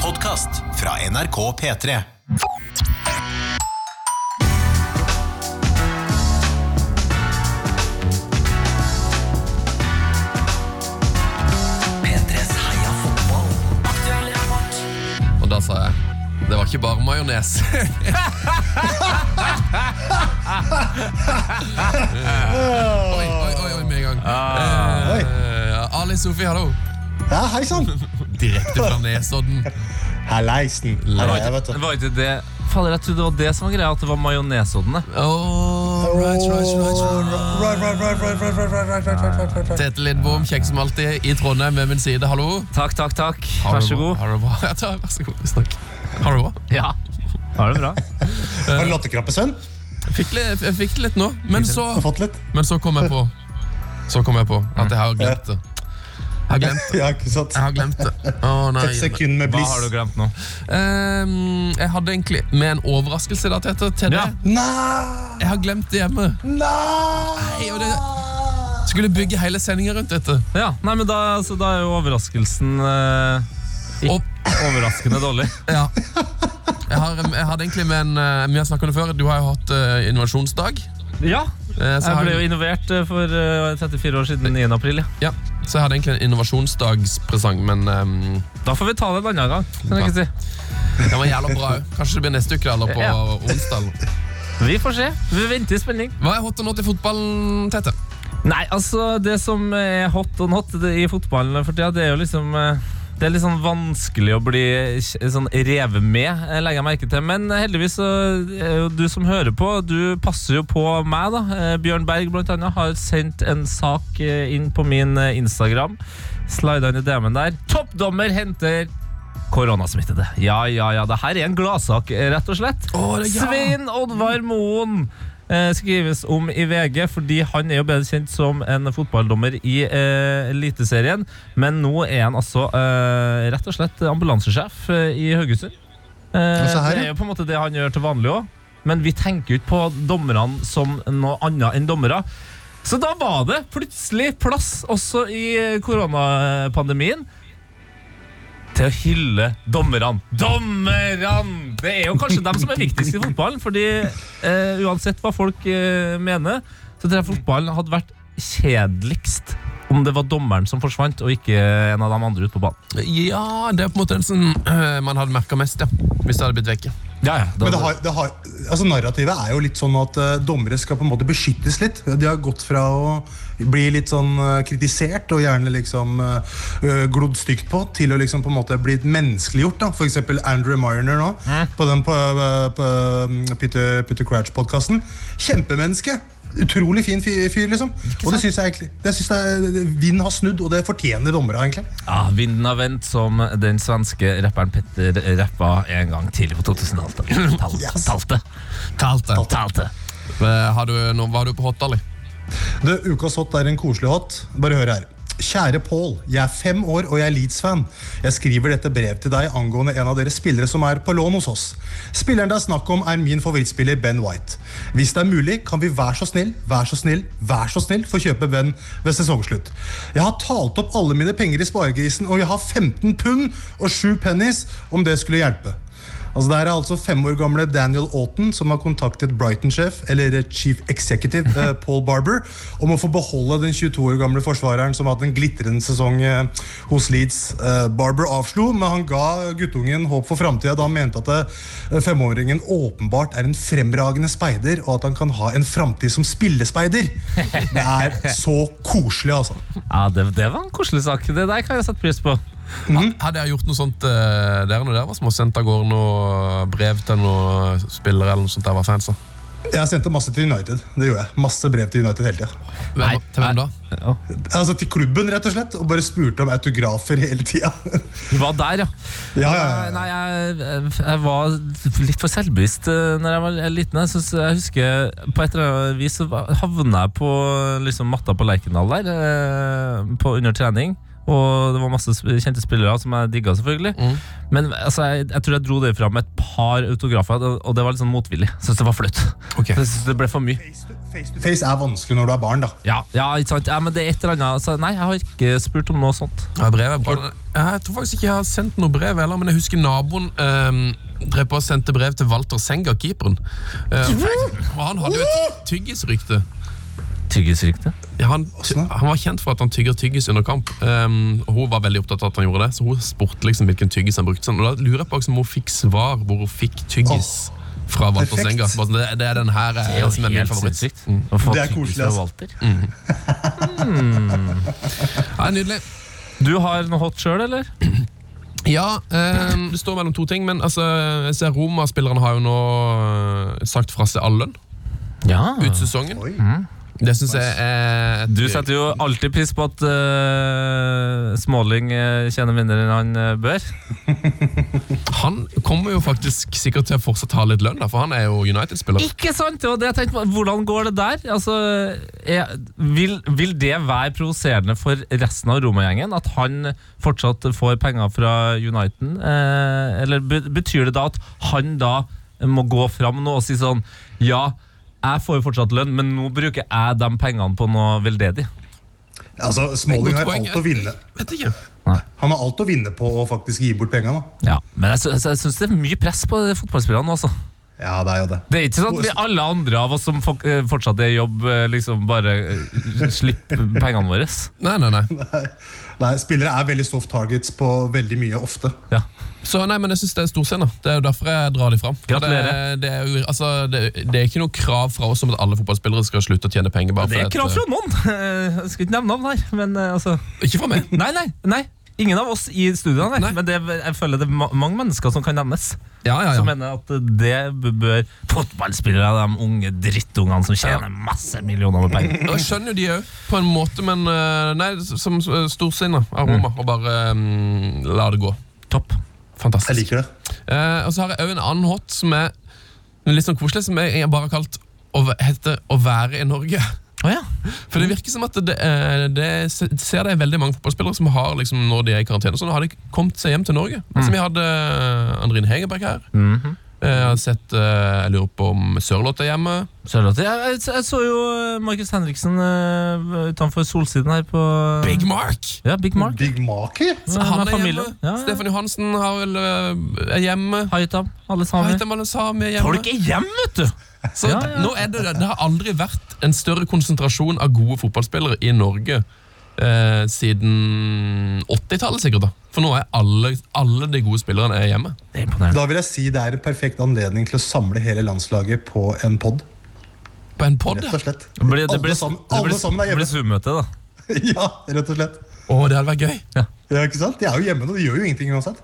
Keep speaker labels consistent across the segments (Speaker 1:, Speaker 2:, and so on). Speaker 1: podkast fra NRK P3.
Speaker 2: Og da sa jeg Det var ikke bare majones. oi, oi, oi, oi, med en gang.
Speaker 3: Ah.
Speaker 4: Oi.
Speaker 2: Eh, Ali Sofi, hallo.
Speaker 4: Ja, hei sann!
Speaker 2: Direkte fra Nesodden.
Speaker 4: Halleisen. Her er jeg, vet
Speaker 3: Det
Speaker 4: du.
Speaker 3: var ikke det Fader, jeg trodde det var det som var greia, at det var majonesoddene.
Speaker 2: Oh, right, right, right, right.
Speaker 4: Right, right, right, right, right, right, right, right, right, right, right, right.
Speaker 2: Tete Lidbom, kjekk som alltid, i Trondheim ved min side. Hallo.
Speaker 3: Takk, takk, takk. Vær så god.
Speaker 2: Har du det bra? Ja, ta- vær så god. Snakk. Har du det bra?
Speaker 3: Ja. Har det bra.
Speaker 4: Har du lottekrabbesønn?
Speaker 2: Jeg fikk, litt, jeg fikk det litt nå, men så,
Speaker 4: Har fått litt?
Speaker 2: men så kom jeg på Så kom jeg på at jeg har glemt det. Jeg har glemt
Speaker 4: Ja, ikke sant?
Speaker 2: Jeg har glemt det. Å, nei.
Speaker 4: Et sekund med
Speaker 3: Hva
Speaker 4: bliss.
Speaker 3: har du glemt nå?
Speaker 2: Ehm, jeg hadde egentlig med en overraskelse da, Tete, til
Speaker 3: Ja.
Speaker 2: deg.
Speaker 4: Nei!
Speaker 2: Jeg har glemt det hjemme.
Speaker 4: Nei!
Speaker 2: og det- Skulle bygge hele sendinga rundt dette.
Speaker 3: Ja, nei, men da, så da er jo overraskelsen eh,
Speaker 2: Og,
Speaker 3: overraskende dårlig.
Speaker 2: ja. jeg, har, jeg hadde egentlig med en eh, Vi har snakket om det før. Du har jo hatt eh, innovasjonsdag.
Speaker 3: Ja.
Speaker 2: Eh, så,
Speaker 3: Jeg
Speaker 2: har
Speaker 3: ble jo
Speaker 2: jeg,
Speaker 3: innovert eh, for eh, 34 år siden 9. april.
Speaker 2: ja,
Speaker 3: Ja.
Speaker 2: så jeg hadde egentlig en innovasjonsdagspresang, men ehm,
Speaker 3: Da får vi ta det en annen gang. Kan jeg ikke si.
Speaker 2: den var jævla bra òg. Kanskje det blir neste uke eller på
Speaker 3: Ja.
Speaker 2: onsdag. eller.
Speaker 3: Vi får se. Vi venter i spenning.
Speaker 2: Hva er hot og not i fotballen, Tete?
Speaker 3: Nei, altså Det som er hot og not det- i fotballen for tida, det er jo liksom eh, det er litt sånn vanskelig å bli kj- sånn revet med, eh, legger jeg merke til. Men eh, heldigvis så er jo du som hører på, du passer jo på meg, da. Eh, Bjørn Berg blant annet har sendt en sak eh, inn på min eh, Instagram. Slida inn i DM-en der. Toppdommer henter koronasmittede. Ja, ja, ja. Det her er en gladsak, eh, rett og slett.
Speaker 2: Å, det er- ja.
Speaker 3: Svein Oddvar Moen eh, skrives om i VG, fordi han er jo bedre kjent som en fotballdommer i eh, Eliteserien. Men nå er han altså eh, rett og slett ambulansesjef eh, i Haugesund. Eh,
Speaker 4: se her,
Speaker 3: det er
Speaker 4: ja.
Speaker 3: jo på en måte det han gjør til vanlig òg. Men vi tenker jo ikke på dommerne som noe annet enn dommere. Så da var det plutselig plass også i eh, koronapandemien til å hylle dommerne. Dommerne! Det er jo kanskje dem som er viktigst i fotballen. fordi eh, uansett hva folk eh, mener, så tror jeg fotballen hadde vært kjedeligst om det var dommeren som forsvant, og ikke en av de andre ute på banen.
Speaker 2: Ja, det er på en måte den som eh, man hadde merka mest, ja. Hvis det hadde blitt vekke.
Speaker 4: Men det har, det har, altså narrativet er jo litt sånn at eh, dommere skal på en måte beskyttes litt. De har gått fra å bli litt sånn eh, kritisert og gjerne liksom eh, eh, glodd stygt på, til å liksom på en måte bli menneskeliggjort. da. For eksempel Andrew Marner nå, på den på, eh, på eh, Peter, Peter Crouch-podkasten. Kjempemenneske! Utrolig fin fyr, fyr liksom. Og det syns jeg egentlig. Det synes jeg eh, Vind har snudd, og det fortjener dommere, egentlig.
Speaker 3: Ja, Vinden har vendt, som den svenske rapperen Petter rappa en gang tidlig på 2000-tallet. Tal-
Speaker 4: Yes.
Speaker 3: Talte.
Speaker 2: Talte.
Speaker 3: Talte.
Speaker 2: Eh, Har du, nå, hva har du på hot, Ali?
Speaker 4: Du, ukas hot er en koselig hot. Bare hør her. Kjære Pål, jeg er fem år og jeg er Leeds-fan. Jeg skriver dette brev til deg angående en av deres spillere som er på lån hos oss. Spilleren det er snakk om, er min favorittspiller Ben White. Hvis det er mulig, kan vi vær så snill, vær så snill, vær så snill få kjøpe Ben ved sesongslutt. Jeg har talt opp alle mine penger i sparegrisen, og jeg har 15 pund og 7 pennies, om det skulle hjelpe. Altså Det her er altså fem år gamle Daniel Auton som har kontaktet Brighton-sjef eller eh, chief executive eh, Paul Barber om å få beholde den 22 år gamle forsvareren som har hatt en glitrende sesong eh, hos Leeds. Eh, Barber avslo, men han ga guttungen håp for framtida da han mente at eh, femåringen åpenbart er en fremragende speider, og at han kan ha en framtid som spillespeider. Det er så koselig, altså.
Speaker 3: Ja, det, det var en koselig sak. Det der kan jeg sette pris på.
Speaker 2: Hadde jeg gjort noe sånt eh, der når dere var små, sendt av gårde noe brev til noen spillere eller noe sånt der var fans av?
Speaker 4: Jeg sendte masse til United. det gjorde jeg. Masse brev til United hele tida.
Speaker 2: Hvem, til hvem da?
Speaker 4: Altså til klubben, rett og slett, og bare spurte om autografer hele tida.
Speaker 3: Du var der, ja.
Speaker 4: ja, ja, ja.
Speaker 3: Nei, jeg, jeg var litt for selvbevisst eh, Når jeg var liten. Jeg, synes, jeg husker På et eller annet vis så var- havna jeg på liksom, matta på Lerkendal der, eh, på, under trening. Og det var masse sp- kjente spillere som jeg digga, selvfølgelig.
Speaker 4: Mm.
Speaker 3: Men altså, jeg, jeg tror jeg dro det fra med et par autografer, og det var litt sånn motvillig. Jeg Syns det var flaut.
Speaker 2: Ok.
Speaker 3: Jeg synes Det ble for mye.
Speaker 4: face to face er vanskelig når du er barn, da.
Speaker 3: Ja, ja, ikke sant? Ja, men det er et eller annet altså, Nei, jeg har ikke spurt om noe sånt.
Speaker 2: Ja, brevet, er bra. jeg tror faktisk ikke jeg har sendt noe brev heller, men jeg husker naboen ehm, drev på og sendte brev til Walter Senga, keeperen. Eh, og han hadde jo et tyggisrykte.
Speaker 3: Tyggisrykte?
Speaker 2: Ja, han, ty-
Speaker 4: Åssen da?
Speaker 2: han var kjent for at han tygger tyggis under kamp. Ehm, og Hun var veldig opptatt av at han gjorde det, så hun spurte liksom hvilken tyggis han brukte. Sånn. Og da lurer jeg på om hun fikk svar hvor hun fikk tyggis fra Walter
Speaker 4: perfekt.
Speaker 2: Senga. Bare sånn, det, det er den her eh, som er min favoritt. Mm.
Speaker 3: sinnssykt. Å få
Speaker 4: Mm. Det er
Speaker 3: tyggis
Speaker 4: koselig,
Speaker 3: av
Speaker 4: altså.
Speaker 3: Walter.
Speaker 2: Ja, nydelig.
Speaker 3: Du har noe hot sjøl, eller?
Speaker 2: Ja, ehm, det står mellom to ting, men altså, jeg ser Roma-spillerne har jo nå eh, sagt fra seg all lønn
Speaker 3: Ja.
Speaker 2: ut sesongen.
Speaker 4: Oi.
Speaker 2: Det syns jeg er et-
Speaker 3: Du setter jo alltid pris på at eh, Småling eh, tjener mindre enn han eh, bør.
Speaker 2: Han kommer jo faktisk sikkert til å fortsatt ha litt lønn, da, for han er jo United-spiller.
Speaker 3: Ikke sant? Det var det jeg tenkte på. Hvordan går det der? Altså, er, vil, vil det være provoserende for resten av Roma-gjengen at han fortsatt får penger fra Uniten? Eh, eller be, betyr det da at han da må gå fram nå og si sånn Ja, jeg får jo fortsatt lønn, men nå bruker jeg de pengene på noe veldedig.
Speaker 4: Altså, Smalling
Speaker 2: Godt
Speaker 4: har
Speaker 2: poeng,
Speaker 4: alt
Speaker 2: ja.
Speaker 4: å vinne.
Speaker 2: Vet ikke.
Speaker 4: Han har alt å vinne på å faktisk gi bort penga, da.
Speaker 3: Ja, Men jeg, sy- jeg syns det er mye press på fotballspillerne nå, altså.
Speaker 4: Ja, det er jo det.
Speaker 3: Det er ikke sånn at vi alle andre av oss som fok- eh, fortsatt er i jobb, eh, liksom bare eh, slipper pengene våre.
Speaker 2: Nei, nei, nei.
Speaker 4: Nei, Spillere er veldig soft targets på veldig mye ofte.
Speaker 3: Ja.
Speaker 2: Så nei, men jeg syns det er storscene. Det er jo derfor jeg drar de fram. For
Speaker 3: Gratulerer.
Speaker 2: Det, det, er, jo, altså, det, det er ikke noe krav fra oss om at alle fotballspillere skal slutte å tjene penger. Bare
Speaker 3: Det er
Speaker 2: fordi
Speaker 3: krav
Speaker 2: at,
Speaker 3: fra noen! Eh, Jeg skal ikke nevne navn her, men eh, altså
Speaker 2: eh, Ikke fra meg.
Speaker 3: Nei, nei, nei. Ingen av oss i studio, nei.
Speaker 2: Nei.
Speaker 3: men det, er- jeg føler det er ma mange mennesker som kan nevnes.
Speaker 2: Ja, ja,
Speaker 3: Som
Speaker 2: ja.
Speaker 3: mener at det b- bør fotballspillere, de unge drittungene som tjener masse millioner med penger.
Speaker 2: Jeg skjønner jo de òg, på en måte, men eh, Nei, som eh, storsinne
Speaker 3: Mm.
Speaker 2: av Roma. Og bare eh, la det gå.
Speaker 3: Topp.
Speaker 2: Fantastisk.
Speaker 4: Jeg liker det.
Speaker 2: Eh, og så har jeg òg en annen hot som er litt sånn koselig, som jeg jeg bare har kalt å, væ- heter 'Å være i Norge'.
Speaker 3: Å ja.
Speaker 2: For det virker som at det, eh, det se- ser det er veldig mange fotballspillere som har liksom, når de er i karantene, sånn, har de kommet seg hjem til Norge.
Speaker 3: Mm.
Speaker 2: Altså, vi hadde eh, Andrin Hegerberg her.
Speaker 3: Mhm.
Speaker 2: Eh, Jeg har sett, eh, jeg lurer på om Sørloth er hjemme.
Speaker 3: Sørloth. Jeg, jeg, jeg så jo eh, Markus Henriksen eh, utenfor Solsiden her på
Speaker 2: Big Mark!
Speaker 3: Ja, Big Mark.
Speaker 4: Big Maki?
Speaker 2: Så han
Speaker 3: Ja, med
Speaker 2: er hjemme.
Speaker 3: familien. Ja, ja.
Speaker 2: Stefan Johansen har vel, eh, er hjemme.
Speaker 3: Haitam, alle sammen.
Speaker 2: Haitam Al-Sami er hjemme.
Speaker 3: Folk er hjemme, vet du!
Speaker 2: Så
Speaker 3: Ja, ja.
Speaker 2: Nå er det, det har aldri vært en større konsentrasjon av gode fotballspillere i Norge eh, siden 80-tallet, sikkert. da. For nå er alle, alle de gode spillerne er hjemme.
Speaker 3: Det er imponerende.
Speaker 4: Da vil jeg si det er en perfekt anledning til å samle hele landslaget på en pod.
Speaker 2: På en pod.
Speaker 4: Rett
Speaker 2: Å,
Speaker 4: og slett.
Speaker 3: Det blir, det
Speaker 4: alle
Speaker 3: blir,
Speaker 4: sammen,
Speaker 3: det
Speaker 4: alle
Speaker 3: blir,
Speaker 4: sammen er
Speaker 3: det blir
Speaker 4: hjemme.
Speaker 3: Zoom-møte, da.
Speaker 4: Ja, rett og slett.
Speaker 2: det hadde vært gøy.
Speaker 4: Ja, ikke sant? De er jo hjemme, og de gjør jo ingenting uansett.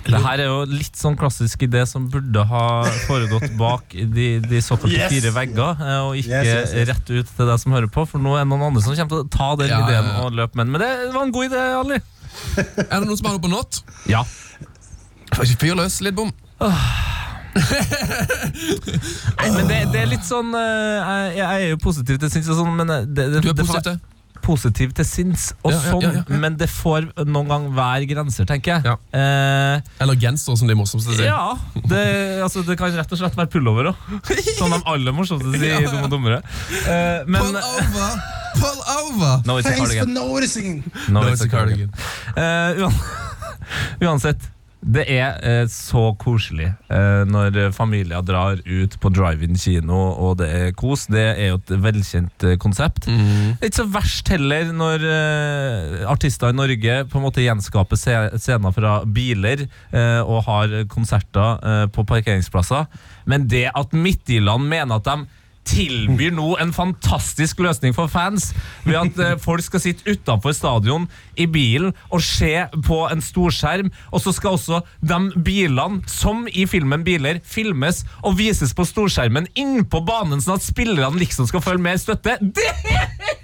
Speaker 3: Det her er jo litt sånn klassisk idé som burde ha foregått bak de, de såkalte
Speaker 4: Yes!
Speaker 3: fire vegger, eh, og ikke
Speaker 4: Yes, yes, yes.
Speaker 3: rett ut til deg som hører på, for nå er det noen andre som kommer til å ta den
Speaker 2: Ja, ja,
Speaker 3: ideen
Speaker 2: ja.
Speaker 3: og løpe med den. Men det var en god idé, Ali.
Speaker 2: Er det noen som har noe på not?
Speaker 3: Ja.
Speaker 2: Fyr løs litt bom.
Speaker 3: Nei, men det, det er litt sånn eh, jeg, jeg er jo positiv til sinns og sånn, men eh, det, det,
Speaker 2: Du er
Speaker 3: det,
Speaker 2: positiv til?
Speaker 3: positiv til sinns og
Speaker 2: Ja, ja,
Speaker 3: sånn,
Speaker 2: ja, ja, ja.
Speaker 3: men det får noen gang hver grenser, tenker jeg. Eh,
Speaker 2: Eller genser, som de morsomste sier.
Speaker 3: Ja, det, altså, det kan rett og slett være pullover òg. Som de aller morsomste sier i Dum og dummere. Eh, men
Speaker 2: Pull over! Pull over!
Speaker 3: No, it's a
Speaker 4: Thanks for
Speaker 3: cardigan.
Speaker 4: noticing!
Speaker 3: No,
Speaker 2: Nå er
Speaker 3: it's a cardigan. Eh, uan- uansett, det er eh, så koselig eh, når familier drar ut på drive-in kino, og det er kos. Det er jo et velkjent eh, konsept.
Speaker 2: Mm.
Speaker 3: Det er ikke så verst heller når eh, artister i Norge på en måte gjenskaper se scener fra biler eh, og har konserter eh, på parkeringsplasser. Men det at Midtjylland mener at de tilbyr nå en fantastisk løsning for fans ved at eh, folk skal sitte utenfor stadion i bilen og se på en storskjerm, og så skal også de bilene, som i filmen Biler, filmes og vises på storskjermen innpå banen, sånn at spillerne liksom skal føle mer støtte. Det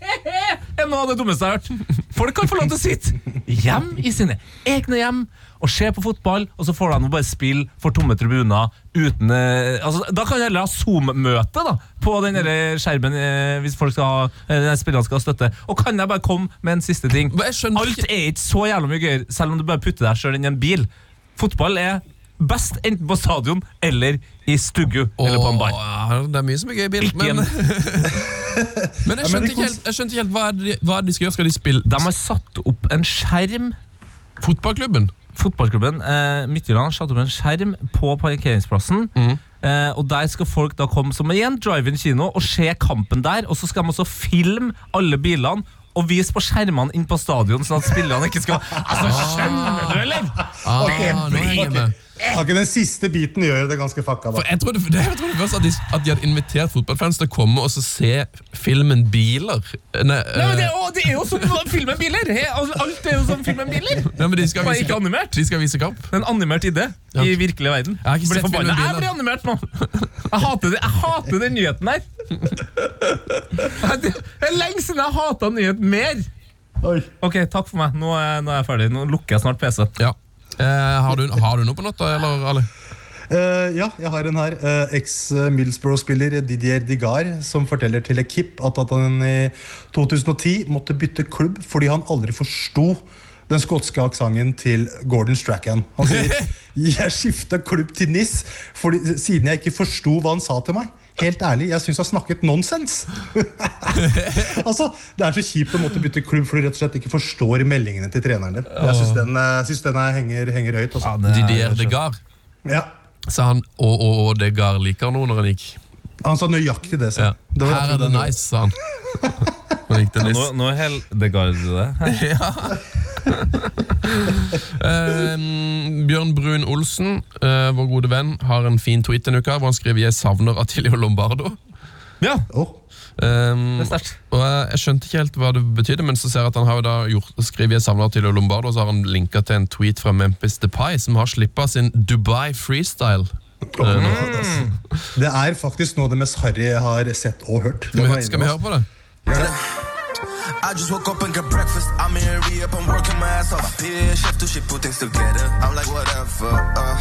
Speaker 3: er noe av det dummeste jeg har hørt. Folk kan få lov til å sitte hjem i sine egne hjem og se på fotball, og så får de bare spille for tomme tribuner uten eh, altså, Da kan du heller ha Zoom-møte da på den derre skjermen eh, hvis folk skal ha, eh, spillerne skal ha støtte. Og kan jeg bare komme med en siste ting?
Speaker 2: Men jeg skjønner
Speaker 3: Alt er ikke så jævla mye gøyere, selv om du bare putter deg sjøl inn i en bil. Fotball er best enten på stadion eller i stugu eller på en bar.
Speaker 2: Åh, det er mye som er gøy i bilen.
Speaker 3: Ikke
Speaker 2: Men,
Speaker 3: en-
Speaker 2: men jeg
Speaker 4: Ja, men
Speaker 2: skjønte
Speaker 4: de
Speaker 2: ikke
Speaker 4: kons-
Speaker 2: helt, jeg skjønte ikke helt hva, er det, de- hva er det de skal gjøre. Skal de spille
Speaker 3: De har satt opp en skjerm.
Speaker 2: fotballklubben?
Speaker 3: Fotballklubben eh, Midtjylland har satt opp en skjerm på parkeringsplassen. Eh, og Der skal folk da komme som igjen, drive-in kino og se kampen der. Og så skal de også filme alle bilene og vise på skjermene inn på stadion, sånn at spillerne ikke skal Altså, skjønner du, eller?!
Speaker 2: Ah,
Speaker 4: Ok,
Speaker 2: nå henger jeg
Speaker 4: ok.
Speaker 2: med.
Speaker 4: Kan ikke den siste biten gjøre det ganske fucka, da?
Speaker 2: For jeg trodde, det, jeg trodde først at de, at de hadde invitert fotballfans til å komme og så se filmen Biler. Nei,
Speaker 3: Nei, men det,
Speaker 2: eh,
Speaker 3: å, det er jo som å filme biler! He, al- alt er jo som å filme biler!
Speaker 2: nei, men de skal
Speaker 3: Bare
Speaker 2: vise,
Speaker 3: ikke animert.
Speaker 2: de skal vise kamp.
Speaker 3: Det er en animert idé
Speaker 2: Ja.
Speaker 3: i virkelig verden.
Speaker 2: har ikke
Speaker 3: Blir
Speaker 2: sett
Speaker 3: forbanna.
Speaker 2: filmen
Speaker 3: Jeg blir animert nå! Jeg hater, det. jeg hater den nyheten her. Det er lenge siden jeg hata nyhet mer.
Speaker 4: Oi.
Speaker 3: Ok, takk for meg. Nå er, nå er jeg ferdig. Nå lukker jeg snart PC.
Speaker 2: Ja. Eh, har, du, har du noe på natta, eller, Ali?
Speaker 4: Eh, ja, jeg har en her. Eh, Eks-Millsbrough-spiller Didier Digar som forteller til Ekip at, at han i 2010 måtte bytte klubb fordi han aldri forsto den skotske aksenten til Gordon Strachan. Han sier jeg skifta klubb til NIS fordi, siden jeg ikke forsto hva han sa til meg. Helt ærlig, jeg syns han snakket nonsens. altså, det er så kjipt å måtte bytte klubb fordi du rett og slett ikke forstår meldingene til treneren din. Jeg syns den, eh, synes den her henger, henger høyt. Altså.
Speaker 2: Didier Degar.
Speaker 4: Ja.
Speaker 2: Sa han å, å, å, Degar liker noe når han gikk.
Speaker 4: Han sa nøyaktig det.
Speaker 2: Ja.
Speaker 4: sa han. Det var
Speaker 2: Her er det
Speaker 4: akkurat
Speaker 2: nice, sa han. Han gikk til
Speaker 3: Nå,
Speaker 2: nice.
Speaker 3: nå heldegarder du deg.
Speaker 2: Eh, Bjørn Brun Olsen, eh, vår gode venn, har en fin tweet denne uka hvor han skriver 'Jeg savner Atilio Lombardo'.
Speaker 3: Ja,
Speaker 4: Åh,
Speaker 2: Um,
Speaker 3: det er sterkt.
Speaker 2: og jeg, jeg skjønte ikke helt hva det betydde, men så ser jeg at han har jo da gjort, skriver jeg samler til Lombardo, og så har han linka til en tweet fra Memphis Depay, som har slippa sin Dubai freestyle. eh, nå.
Speaker 4: det er faktisk noe av det mest harry jeg har sett og hørt.
Speaker 2: Skal vi, skal vi høre på det?
Speaker 5: I just woke up and got breakfast. I'm in re up, I'm working my ass off. Peer chef, do she put things together? I'm like, whatever. Uh,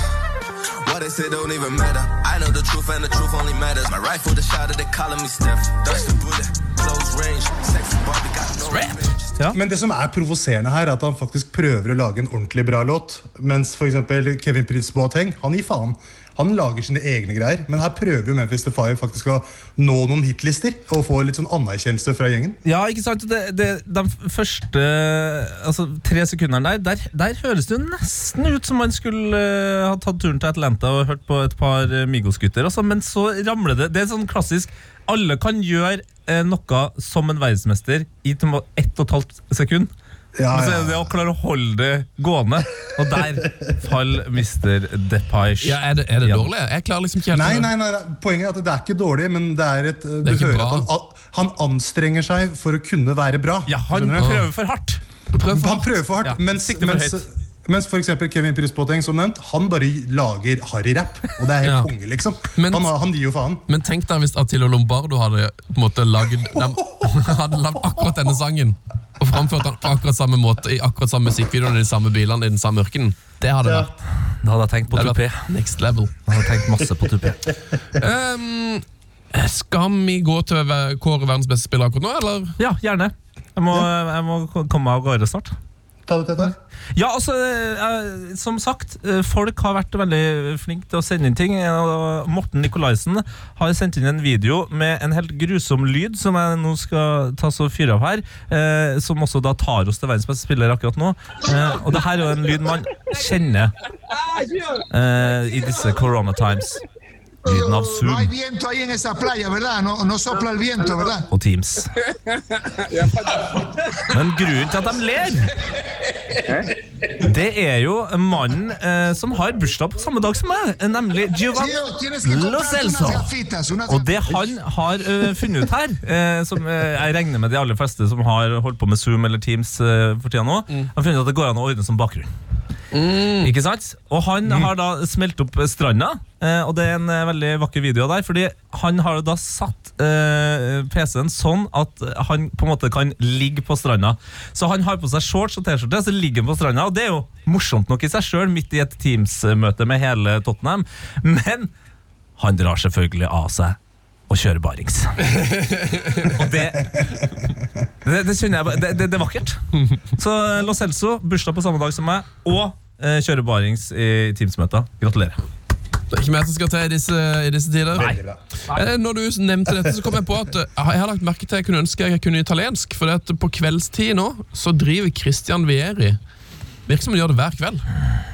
Speaker 5: what they say don't even matter. I know the truth, and the truth only matters. My rifle, the shot of they calling me Steph. Dustin bullet, close range, sexy Barbie got no revenge.
Speaker 4: Men det som er provoserende her, er at han faktisk prøver å lage en ordentlig bra låt. Mens for eksempel Kevin Prince Boateng, han gir faen. Han lager sine egne greier. Men her prøver jo Memphis Defy faktisk å nå noen hitlister og få litt sånn anerkjennelse fra gjengen.
Speaker 3: Ja, ikke sant? Det, det, de første altså, tre sekundene der, der, der høres det jo nesten ut som man skulle eh, ha tatt turen til Atlanta og hørt på et par eh, Migos-gutter, altså, men så ramler det. Det er sånn klassisk Alle kan gjøre eh, noe som en verdensmester i til og med ett og et halvt sekund.
Speaker 4: Ja,
Speaker 3: Men så
Speaker 4: ja,
Speaker 3: er det det å klare å holde det gående, og der faller Mr. Depay.
Speaker 2: Ja, er det, er det
Speaker 3: Ja.
Speaker 2: dårlig? Jeg klarer liksom ikke helt
Speaker 4: Nei, nei, nei, nei, poenget er at det er ikke dårlig, men det er et, du
Speaker 2: ikke
Speaker 4: hører
Speaker 2: bra.
Speaker 4: at han, a- han anstrenger seg for å kunne være bra.
Speaker 3: Ja, han
Speaker 4: Skjønner du?
Speaker 3: prøver for hardt.
Speaker 2: Prøv for
Speaker 4: Han prøver for hardt,
Speaker 3: Ja,
Speaker 4: mens,
Speaker 3: sikter for
Speaker 4: mens, mens for eksempel Kevin Prisboteng, som nevnt, han bare lager harry-rap. Og det er helt
Speaker 2: Ja.
Speaker 4: konge, liksom.
Speaker 2: Men-
Speaker 4: han, har- han gir jo faen.
Speaker 2: Men tenk deg hvis Atilio Lombardo hadde på en måte laget de, Hadde lagd akkurat denne sangen og framført den på akkurat samme måte i akkurat samme musikkvideoen i de samme bilene i den samme ørkenen. Det hadde vært,
Speaker 3: Da hadde jeg tenkt på
Speaker 2: det hadde
Speaker 3: tupé.
Speaker 2: vært next level.
Speaker 3: Da hadde jeg tenkt masse på tupé.
Speaker 2: Ehm, skal vi gå til å være- kåre verdens beste spiller akkurat nå, eller?
Speaker 3: Ja, gjerne. Jeg må, jeg må komme meg av gårde snart.
Speaker 4: Ta det, Tete.
Speaker 3: Ja, altså, eh, som sagt, eh, folk har vært veldig flinke til å sende inn ting. eh, og Morten Nikolaisen har sendt inn en video med en helt grusom lyd, som jeg nå skal ta så fyre av her, eh, som også da tar oss til verdens beste spiller akkurat nå. Eh, Og det her er jo en lyd man kjenner eh, i disse corona times. Lyden av
Speaker 6: No hay
Speaker 3: Zoom
Speaker 6: viento ahí en esa playa, ¿verdad? No, no sopla el viento, ¿verdad?
Speaker 3: og Teams. Men grunnen til at de ler, det er jo mannen eh, som har bursdag på samme dag som meg, eh, nemlig Giovanni.
Speaker 6: Tío, tienes que
Speaker 3: Lo
Speaker 6: comprarte unas
Speaker 3: Celso.
Speaker 6: gafitas, unas
Speaker 4: altså.
Speaker 3: Og det han har eh, funnet ut her, eh, som eh, jeg regner med de aller fleste som har holdt på med Zoom eller Teams eh, for tida nå, har funnet ut at det går an å ordne som bakgrunn. Ikke sant? Og han har da smelt opp stranda, eh, og det er en eh, veldig vakker video der, fordi han har da satt eh, PC-en sånn at han på en måte kan ligge på stranda. Så han har på seg shorts og T-skjorte, så ligger han på stranda, og det er jo morsomt nok i seg sjøl, midt i et Teams-møte med hele Tottenham, men han drar selvfølgelig av seg og kjører barings. og det eh, det, det, kjenner jeg, bare- det, det, det er vakkert. Så Lo Celso, bursdag på samme dag som meg, og eh, kjører barings i Teams-møter. Gratulerer.
Speaker 2: Det er ikke mer som skal til i disse, i disse tider.
Speaker 4: bra.
Speaker 2: Eh, Når du nevnte dette, så kom jeg på at eh, jeg har lagt merke til at jeg kunne ønske jeg kunne italiensk. For at på kveldstid nå så driver Christian Vieri Virker som han gjør det hver kveld.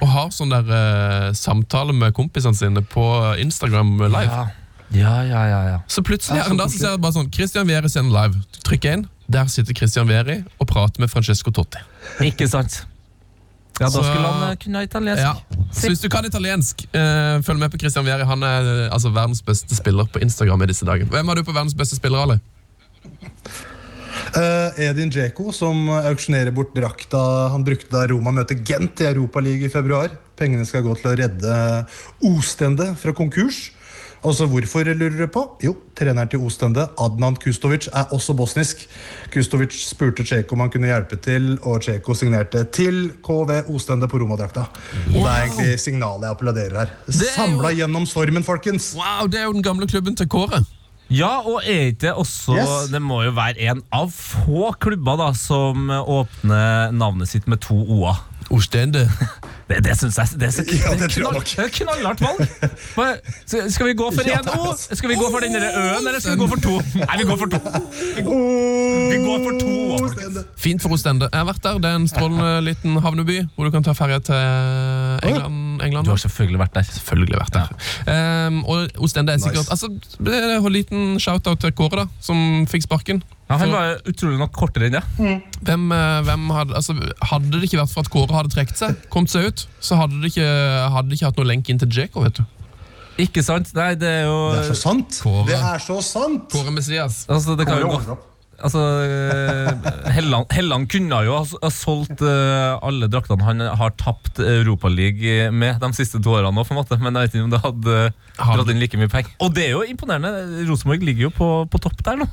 Speaker 2: Og har sånn der eh, samtale med kompisene sine på Instagram live.
Speaker 3: Ja, ja, ja, ja.
Speaker 2: Så plutselig her en dag så ser jeg bare sånn Christian Vieri sender live. Trykker inn. Der sitter Christian Vieri og prater med Francesco Totti.
Speaker 3: Ikke sant? Ja, da
Speaker 2: Så-
Speaker 3: skulle han eh, kunne italiensk.
Speaker 2: Ja. Så hvis du kan italiensk, eh, følg med på Christian Vieri. Han er eh, altså verdens beste spiller på Instagram i disse dager. Hvem har du på verdens beste spiller, Ali?
Speaker 4: Eh, Edin Dzeko, som auksjonerer bort drakta han brukte da Roma møter Gent i Europaligaen i februar. Pengene skal gå til å redde Ostende fra konkurs. Og så hvorfor, lurer du på? Jo, treneren til Ostende, Adnan Kustovic, er også bosnisk. Kustovic spurte Dzeko om han kunne hjelpe til, og Dzeko signerte til KV Ostende på Roma-drakta. Og Det er egentlig signalet jeg applauderer her.
Speaker 2: er jo-
Speaker 4: Samla gjennom stormen, folkens!
Speaker 2: Wow, det er jo den gamle klubben til Kåre.
Speaker 3: Ja, og er ikke det også
Speaker 4: Yes.
Speaker 3: Det må jo være en av få klubber da som eh, åpner navnet sitt med to o-er.
Speaker 2: Ostende.
Speaker 3: Det, det syns jeg det er så
Speaker 4: Ja, det
Speaker 3: knall-
Speaker 4: tror jeg nok.
Speaker 3: det er knallhardt valg. Hva- Skal skal vi gå for
Speaker 4: Ja,
Speaker 3: én O?
Speaker 4: altså.
Speaker 3: Skal vi gå for den derre Ø-en, eller skal vi gå for to? Nei, vi går for to. Vi går for to. folkens.
Speaker 4: Ostende.
Speaker 2: Fint for Ostende. Jeg har vært der. Det er en strålende liten havneby hvor du kan ta ferje til England. England.
Speaker 3: Du har selvfølgelig vært der.
Speaker 2: selvfølgelig vært der. Ehm, og Ostende er sikkert
Speaker 4: Nice.
Speaker 2: altså, det er En liten shout-out til Kåre, da, som fikk sparken.
Speaker 3: Ja, han
Speaker 2: For-
Speaker 3: var jo utrolig nok kortere enn det.
Speaker 2: Hvem, eh, hvem hadde, altså, hadde det ikke vært for at Kåre hadde trukket seg, kommet seg ut, så hadde det ikke, hadde det ikke hatt noe lenk inn til Djeko. vet du.
Speaker 3: Ikke sant? Nei, det er jo
Speaker 4: Det er så sant!
Speaker 2: Kåre.
Speaker 4: Det er så sant!
Speaker 2: Kåre Messias.
Speaker 3: Altså, det kan jo gå
Speaker 4: Kåre opp.
Speaker 3: Altså, eh, Helland, Helland kunne jo ha s- ha solgt eh, alle draktene han har tapt Europaligaen med de siste to årene òg, på en måte. Men jeg vet ikke om det hadde eh,
Speaker 2: Hadde.
Speaker 3: dratt inn like mye penger. Og det er jo imponerende. Rosenborg ligger jo på, på topp der nå.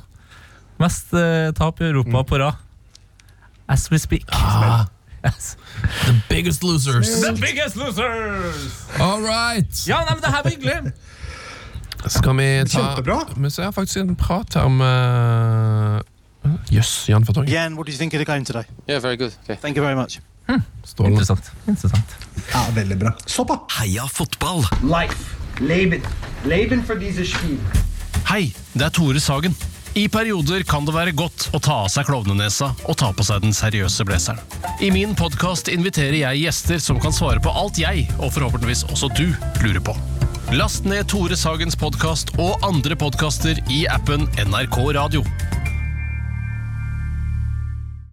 Speaker 3: Mest eh, tap i
Speaker 7: Mm.
Speaker 3: Europa på rad. As we speak.
Speaker 7: Ah.
Speaker 3: Yes.
Speaker 2: The biggest losers.
Speaker 3: The biggest losers!
Speaker 2: All right.
Speaker 3: Ja, nei, men det her var hyggelig.
Speaker 2: Skal vi ta
Speaker 4: Kjempebra.
Speaker 2: Men så har jeg faktisk en prat her med Jøss, Jan Fartong.
Speaker 8: Jan, what do you think of the game today?
Speaker 9: Yeah, very good. Okay.
Speaker 8: Thank you very much.
Speaker 2: Strålende.
Speaker 3: Interessant. Interessant.
Speaker 4: Ja, veldig bra. Såpa!
Speaker 1: Heia fotball!
Speaker 10: Life. Leben. Leben for dieses Spiel.
Speaker 7: Hei, det er Tore Sagen. I perioder kan det være godt å ta av seg klovnenesa og ta på seg den seriøse blazeren. I min podkast inviterer jeg gjester som kan svare på alt jeg, og forhåpentligvis også du, lurer på. Last ned Tore Sagens podkast og andre podkaster i appen NRK Radio.